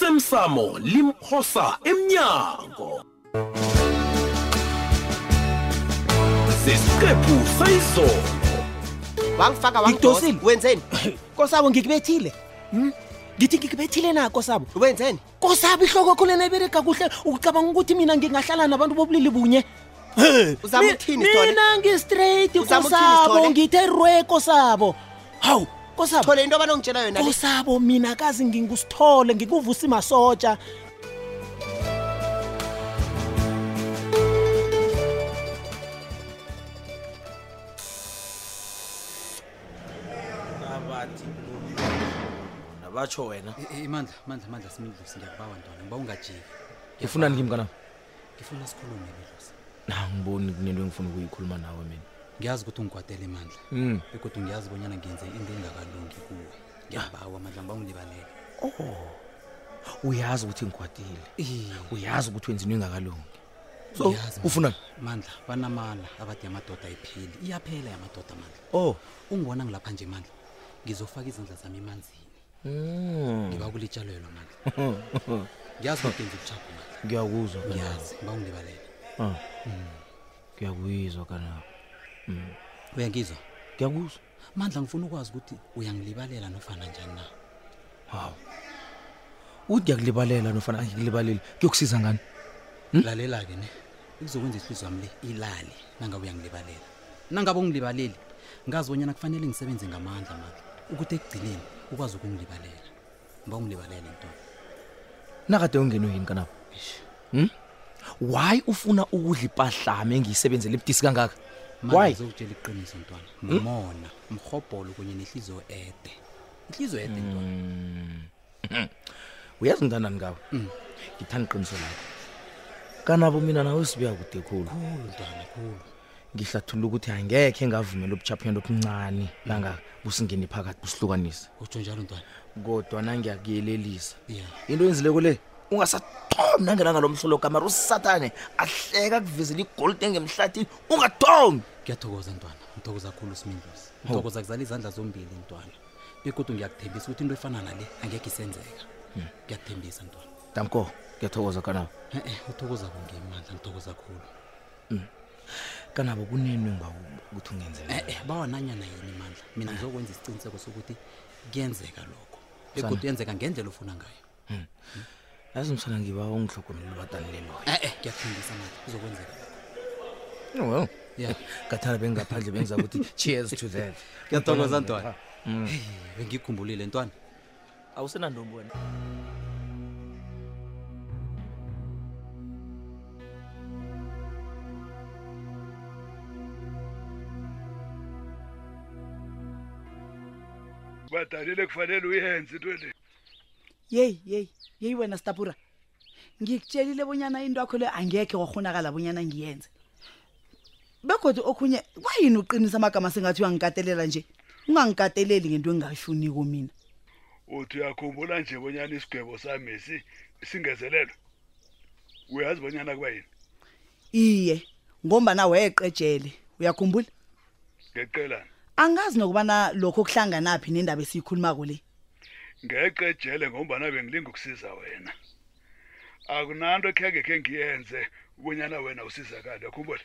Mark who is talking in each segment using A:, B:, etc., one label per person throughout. A: osemsamo limphosa emnyango sesiqephu sayizolo
B: wangifaka
C: Ngikudosile.
B: wangidosa. wenzeni
C: kosabo ngikubethile Hmm? ngithi ngikubethile na kosabo
B: wenzeni
C: kosabo ihloko yakho lena iberega kuhle ucabanga ukuthi mina ngingahlala nabantu bobulili bunye He,
B: Uzama
C: mi-
B: ukuthini, Sithole?
C: mina ngistraight
B: Uzama ukuthini,
C: kosabo
B: Sithole?
C: ngithe rwe kosabo hawu kosabo
B: thole into abanongitshela yona le
C: kosabo mina kazi ngingusithole ngikuvusa imasotsha
D: abatsho wena
E: Eh, eh, mandla mandla mandla simidlosi ngiyakubawa ntwana ngiba ungajiki
D: ngifunani kimi kanam
E: ngifuna sikhulume midlosi
D: angiboni kunento engifuna ukuyikhuluma nawe mina
E: ngiyazi ukuthi ungigwadele mandla
D: Mm.
E: begodwa ngiyazi bonyana ngenze into engakalungi kuwe ngiyabawa mandla ngiba ungilibalele
D: uyazi ukuthi ngigwadile uyazi ukuthi wenzini engakalungi so
E: Ngiyazi, Mandla.
D: ufunani
E: mandla banamala abade yamadoda ayipheli iyaphela yamadoda mandla
D: oh
E: ungibona ngilapha nje mandla ngizofaka izandla zami emanzini
D: Hmm.
E: ngiba kulitshalelwa mandla Hmm. ngiyazi ukuthi ngenza ubushapho mandla
D: ngiyakuzwa Ah.
E: ngiyazi ngiba Hmm. ungilibalele
D: ngiyakuyizwa kanabo
E: uyangizwa
D: Hmm. ngiyakuzwa
E: mandla ngifuna ukwazi ukuthi uyangilibalela nofana njani na
D: uthi ngiyakulibalela nofana angikulibaleli kuyokusiza ngani
E: lalela-ke ne izokwenza ihliziyo yami le ilale nangabe uyangilibalela nangabe ungilibaleli ngazi bonyana kufanele ngisebenze ngamandla mandla ukuthi ekugcineni ukwazi ukungilibalela ngiba ungilibalele ntona
D: nakade ungenwe yini kanabo hmm? why ufuna ukudla ipahlami engiyisebenzela ebudisi kangaka Hmm?
E: manje ngizokutshela iqiniso ntwana ngumona mrhobholo kunye nehliziyo ede ihliziyo ede ntwana Mm.
D: uyazi ntanani ngawe ngithanda iqiniso lakho kanabo mina nawe sibuya kude khulu
E: khulu ntwana khulu
D: ngihlathulula ukuthi angekhe ngavumela ubuchaphendo obuncane kangaka busingeni phakathi busihlukanise
E: utsho njalo ntwana
D: kodwa nangiyakuyelelisa
E: ya
D: into yenzileko le ungasadomi nangenanga lo mhlolo gamara usathane ahleka kuvezela igolide engemhlathini ungadomi
E: ngiyathokoza ntwana ngithokoza khulu simindlosi ngithokoza kuzala izandla zombili ntwana bekodwa ngiyakuthembisa ukuthi into efana nale angekhe isenzeka ngiyakuthembisa ntwana
D: damko ngiyathokoza kanabo
E: e-e uthokoza kungemandla ngithokoza khulu
D: kanabo kunenwe ngawubo ukuthi ungenzele
E: e-e bawananyana yini mandla mina ngizokwenza isiciniseko sokuthi kuyenzeka lokho bekodwa yenzeka ngendlela ofuna ngayo
D: Hmm. yazi msana ngiba ungihlogomele libatani leloyo
E: e-e ngiyakuthembisa Eh, mandla kuzokwenzeka lokho Oh,
D: well
E: ya
D: ngathana bengingaphandle bengiza ukuthi cheers to that Hmm.
E: ngiyathokoza ntwana
D: Mm.
E: bengikhumbulile ntwana
D: awusenantombi wena
F: badalile kufanele uyenze into le
G: yeyi yeyi yeyi wena stapura ngikutshelile bonyana into yakho leyo angekhe warhonakala bonyana ngiyenze begodwa okhunye kwayini uqinisa amagama sengathi uyangikatelela nje ungangikateleli ngento engingashunikwo mina
F: uthi uyakhumbula nje bonyana isigwebo sami si singezelelo uyazi bonyana kuba yini
G: iye ngombana weyeqejele uyakhumbula
F: ngeqelana
G: angazi nokubana lokho kuhlanganaphi nendaba esiyikhulumako le
F: ngeqe ejele ngombana bengilinga ukusiza wena akunanto ekhengekhe ngiyenze bonyana wena usizakale yakhumbula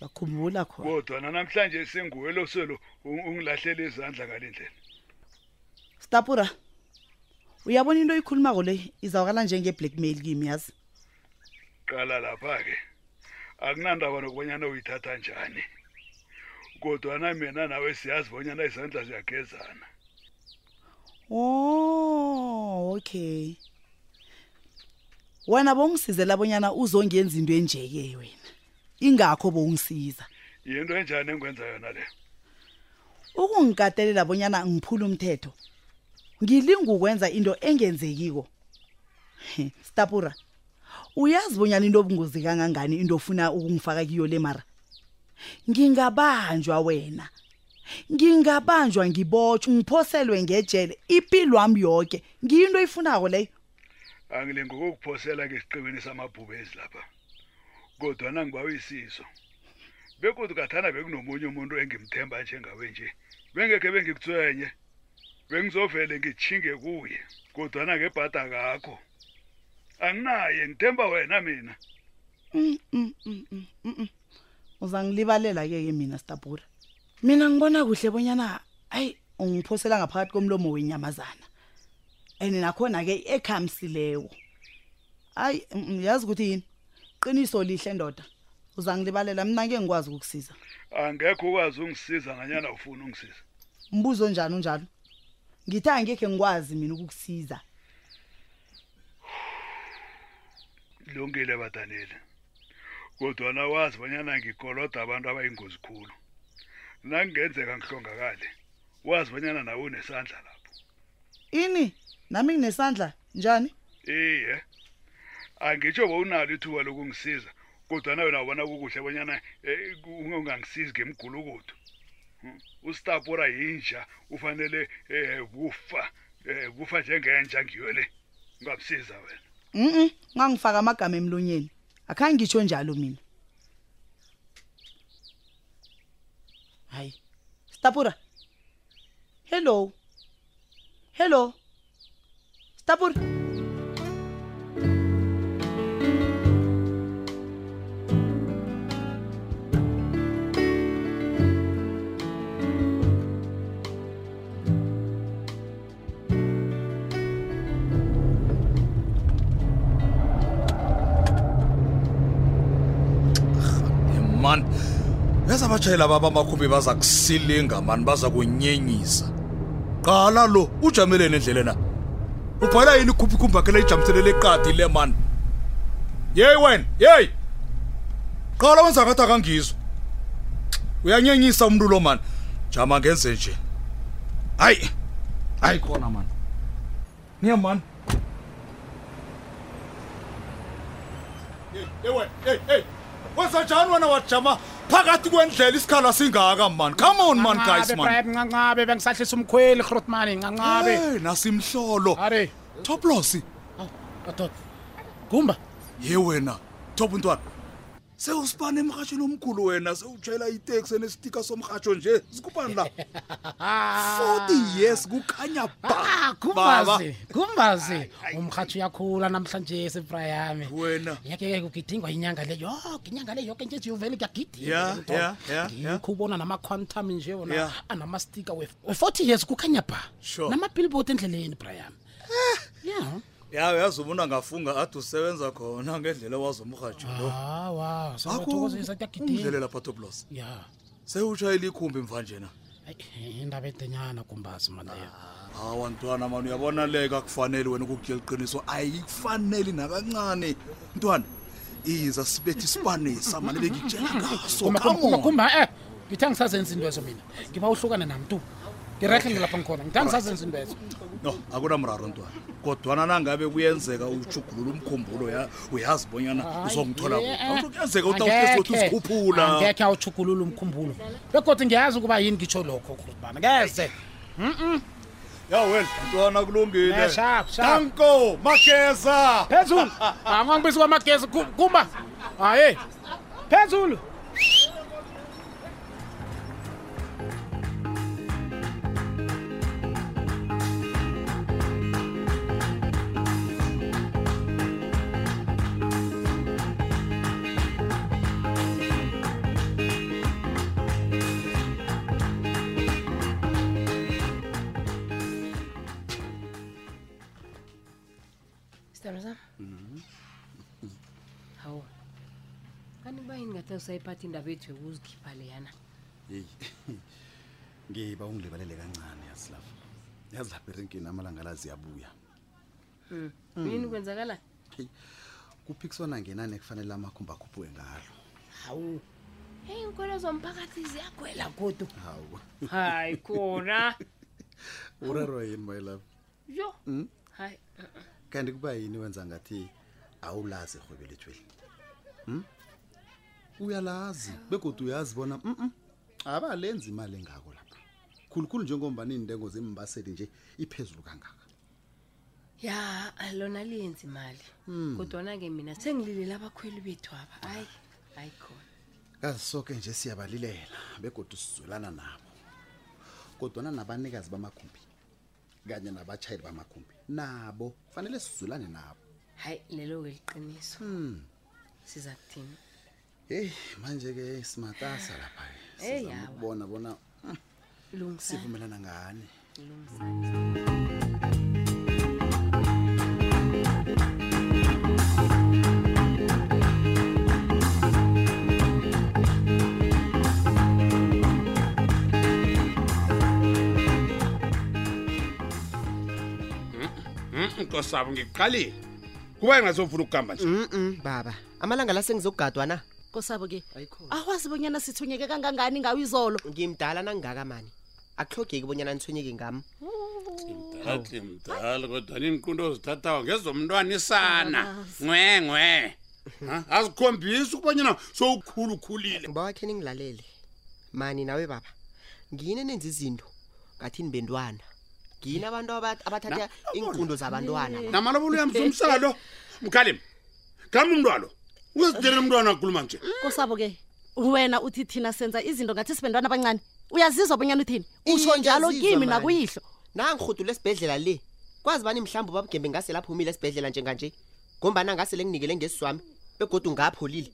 G: uyakhumbula khona
F: kodwa nanamhlanje singuwe loselo ungilahlela izandla ngale ndlela
G: stapura uyabona into oyikhulumako le izawakala njenge-blackmail kimi yazi
F: qala lapha-ke akunandaba nokubonyana uyithatha njani kodwana mina nawe siyazi bonyana izandla ziyagezana
G: Oh, okay. Wena bongisizela bonyana uzongenza into enje ke wena. Ingakho bongisiza.
F: yinto enjani engikwenza yona leyo
G: Ukungikatelela bonyana ngiphule umthetho. Ngilinga ukwenza into engenzekiko. He, Stapura. Uyazi bonyana into obungozi kangangani into ofuna ukungifaka kiyo le mara. Ngingabanjwa wena. Ngingabanjwa ngibotshwe ngiphoselwe ngejele impilo yami yonke. Ngiyinto oyifunako leyo.
F: angilingi ukukuphosela ngesiqibini samabhubezi lapha kodwana ngiba uyisizo bekodwa ngathana bekunomunye umuntu engimthemba njengawe nje bengekhe bengikutswenye bengizovele ngijhinge kuye kodwana ngebhada kakho anginaye ngithemba wena mina
G: Mm, mm, mm, mm, mm, mm. uzangilibalela-ke ke mina stabura mina ngibona kuhle bonyana hayi ungiphosela ngaphakathi komlomo wenyamazana and nakhona-ke ekhamsilewo hayi mm, mm, yazi ukuthi yini qiniso lihle ndoda uzangilibalela mina ke ngikwazi ukukusiza
F: angekho ukwazi ungisiza nganyana ufuna ungisiza
G: mbuzo njani unjalo ngithi angekhe ngikwazi mina ukukusiza
F: kulungile badanile kodwana wazi bonyana ngikoloda abantu abayingozi khulu nangingenzeka ngihlongakale wazi bonyana nawe unesandla lapho
G: ini nami nginesandla njani
F: iye angitsho bowunalo ithuba lokungisiza kodwana wena ubona kukuhle bonyana eh, ku- ungangisizi ngemgulukudu Hmm.
H: Eh,
F: ustapura yinja ufanele um kufa um kufa njengenja ngiyo le ungamsiza wena
G: mm ngangifaka amagama emlonyeni akhange ngitsho njalo mina hayi stapura hello hello stapura
I: mani yaza abatshayeli ababa amakhumbi baza kusilinga mani baza kunyenyisa qala lo ujameleni endlelena ubhala yini ikhuphikhumbi akhe leyijamiselele eqadi le mani yeyi wena yeyi qala wenza ngathi akangizwa uyanyenyisa umntu lo mani jama ngenze nje hayi hayi khona mani niye mani Hey, hey, wena, hey, hey. wenza njani wena wajama phakathi kwendlela isikhala singaka mani come on man guys man
H: ncancabe bengisahlisa umkhweli hrotmani ncancabe
I: hey nasimhlolo
H: are
I: toplosi
H: adoda gumba
I: ye wena top ntwana sewusibane emrhatshweni omkhulu wena sewutshayela iteksi enestika somrhatsho nje sikubani la 40 years kukhanya
H: Ah, gumbazi gumbazi umrhatshi uyakhula namhlanje sefra yami
I: wena
H: yeke ke kugidingwa inyanga le yoke inyanga le yoke nje nje uvele
I: Yeah, yeah, yeah, yeah.
H: ngikho ubona nama-quantum nje wona
I: Yeah.
H: anamastika we-forty years kukhanya ba
I: Sure.
H: namabillboard endleleni brayami yeah
I: yawe yazi umuntu angafunga ade usebenza khona ngendlela wazomrhatsho lo
H: Ah, hawa
I: akho
H: sakuthokozisa
I: ungidlele
H: kuyagidinga
I: lapha toplosi
H: ya
I: sewutshayela ikhumbi mvanje na
H: Ayi, indaba edenyana gumbazi maleyo
I: hawa ntwana mani uyabonaleka akufanele wena ukukutya liqiniso ayikufaneli nakancane ntwana iza sibethi isipanisa mani bengitshela ngaso
H: Gumba,
I: come
H: gumba, gumba,
I: on.
H: gumba eh ngithe angisazenza into ezo mina ngiba uhlukane nam tu ngirehle ngilapha ngikhona ngithe angisazenza into ezo
I: no akunamraro ntwana kodwana nangabe kuyenzeka ujugulula umkhumbulo ya- uyazi bonyana uzongithola
H: Hayi, eh, eh.
I: kuyenzeka utawuhlesothi
H: Angekhe,
I: usikhupula
H: angekhe awuchugulula umkhumbulo begodwa ngiyazi ukuba yini ngitsho lokho kurubana ngeze
I: ya wena ntwana
H: Eh,
I: kulungile
H: sharp, sharp.
I: tanko mageza
H: phezulu Ah, angangibisi kwamagezi Gu- gumba haye Ah, phezulu
J: sithandwa sam hawu kanti uba yini ngathi usayiphatha indaba yethu yokuzikhipha leyana
A: ngiba ungilibalele kancane yasilapha yazi lapha erenkini amalanga la ziyabuya
J: yini Hmm. kwenzakala
A: kuphikiswana ngenani ekufanele amakhumbi akhuphuke ngalo
J: hawu heyi inkhwelo zomphakathi ziyakhwela godu hawu hayi khona
A: urerwa yini my love Hmm?
J: yo hayi
A: kanti kuba yini wenza ngathi awulazi irhwebe lethweli um uyalazi begodwa uyazi bona mm abalenzi imali engako lapha khulukhulu njengombani iintengo zembaseli nje iphezulu kangaka
J: ya lona liyenza imali kodwana-ke mina sengililela abakhweli bethu aba hayi hayi khona
A: kazi soke nje siyabalilela begodwa sizwelana nabo kodwana nabanikazi bamakhumbi kanye nabatshayeli bamakhumbi nabo fanele sizulane nabo
J: hayi lelo-ke liqiniso siza kuthini
A: heyi manje-ke simatasa lapha
J: Hey,
A: sizama
J: awa.
A: ukubona bona mm,
J: Lungisani.
A: sivumelana ngani
K: nkosabo Mm, ngikuqalile kuba engazofuna ukuhamba nje
B: Mm baba. Amalanga la sengizogadwa na.
L: kosabo ke awazi bonyana sithunyeke kangangani ngawo izolo
B: ngimdala nangaka mani akuhlogeki bonyana nithonyeke ngami
K: athi mdala kodwa niinkundo ozithathawa ngezomntwanisana ngwe ngwe Ha? azikhombisi ukubanyana sowukhulu ukhulile
B: ngibawakhe ningilalele mani nawe baba ngini enenza izinto ngathi nibentwana ngini abantu abat- abathatha iinqundo zabantwana
K: namalobolo yami somsala lo mkhalim khamba umntwalo uyozidelela umntwana akhuluma nje
L: kosabo ke wena uthi thina senza izinto ngathi sibentwana abancane uyazizwa bonyana uthini usho
B: Iye,
L: njalo
B: ngiyazizwa,
L: kimi
B: mani.
L: nakuyihlo
B: nangirhudule esibhedlela le kwazi bani mhlawumbe ubabugembe ngase laphumile esibhedlela njenganje ngombana ngase le nginikele ngesiswami begodwa ngapholile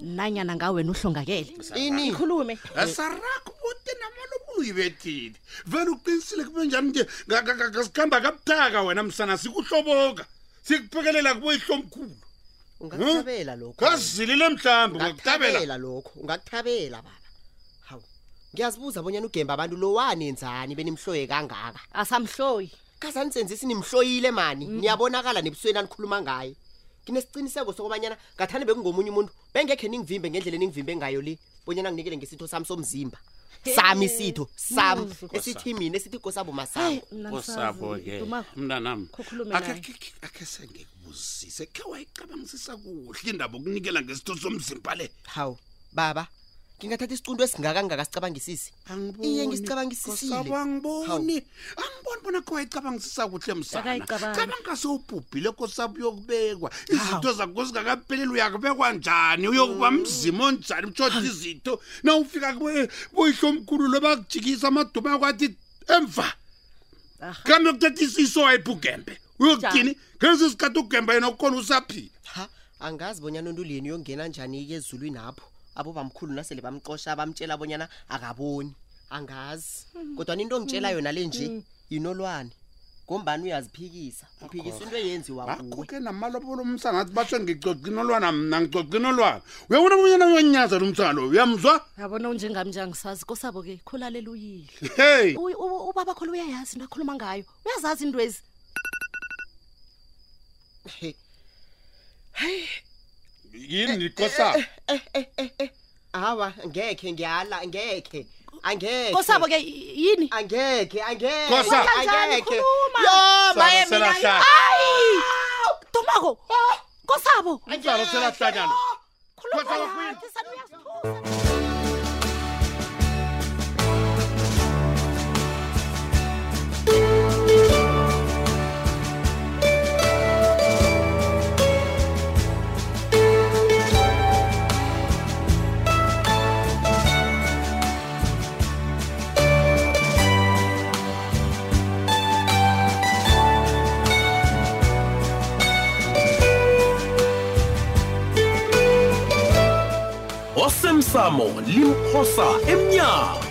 L: nanyana ngawena uhlongakele
B: Ini?
L: ikhulume
K: asaraku bote namalobolo uyibethile vele uqinisile kube njani nje Nga- nga- nga- ngasikhamba kabutaka wena msana sikuhloboka sikuphekelela kuboyihlomkhulu
B: ungakuthabela lokho
K: khazilile mhlawumbe ungakutabela
B: ungakuthabela lokho ungakuthabela baba hawu ngiyazibuza bonyana ugemba abantu lo wanenzani benimhloye kangaka
L: asamhloyi
B: kazanisenzi nimhloyile mani niyabonakala nebusweni anikhuluma ngaye nginesiqiniseko sokubanyana ngathani bekungomunye umuntu bengekhe ningivimbe ngendlela eningivimbe ngayo le bonyana nginikele ngesitho sami somzimba sami isitho sami
K: Mm.
B: esithi mina esithi kosabo masango
K: osabo-ke mntanami akhe sengekubuzise khe wayicabangisisa kuhle indaba okunikela ngesitho somzimba le
B: hawu baba ngingathatha isicundo esingaka ngingakasicabangisisi iye ngisicabangisisile
K: angiboni angiboni bona khe wayicabangisisa kuhle
B: Akayicabangi.
K: msanacabanga sewubhubhile kosabo uyokubekwa izitho zakho zingakapheleli uyakubekwa njani uyokuba mzima onjani utshotha izitho na ufika kuyihlomkhulu lo bakujikisa amaduma akwathi emva kambe kuthatha isiso wayibhugembe uyokuthini ngesi sikhathi ugembe yena ukhona usaphila
B: ha angazi bonyana untuleni uyongena njani-ke ezulwini apho abo bamkhulu nasele bamqosha bamtshela bonyana akaboni angazi
L: Hmm.
B: kodwa into ngitshela yona le nje yinolwane ngombani uyaziphikisa uphikisa into eyenziwa
K: kuwe namalobolo umsangathi batsho ngicocqinolwana mna ngicocqinolwana uyabona bonyana uyanyaza lo msana lo uyamzwa
L: yabona unjengami nje angisazi kosabo ke khulalela uyihlo
K: hey
L: U- u- ubaba kholo uyayazi into akhuluma ngayo uyazazi into ezi
K: yini nikosabo
B: hawa ngekhe ngiyala ngekhe angeke
L: Kosabo ke yini
B: angeke angeke
K: Kosa.
L: Kanjani?
B: angeke
L: Khuluma.
B: yo baye
K: Sala,
B: mina
K: sala, sala.
L: Ayi! Tomako. Kosabo.
K: umsana uselahlanyana
M: osemsamo limphosa emnyango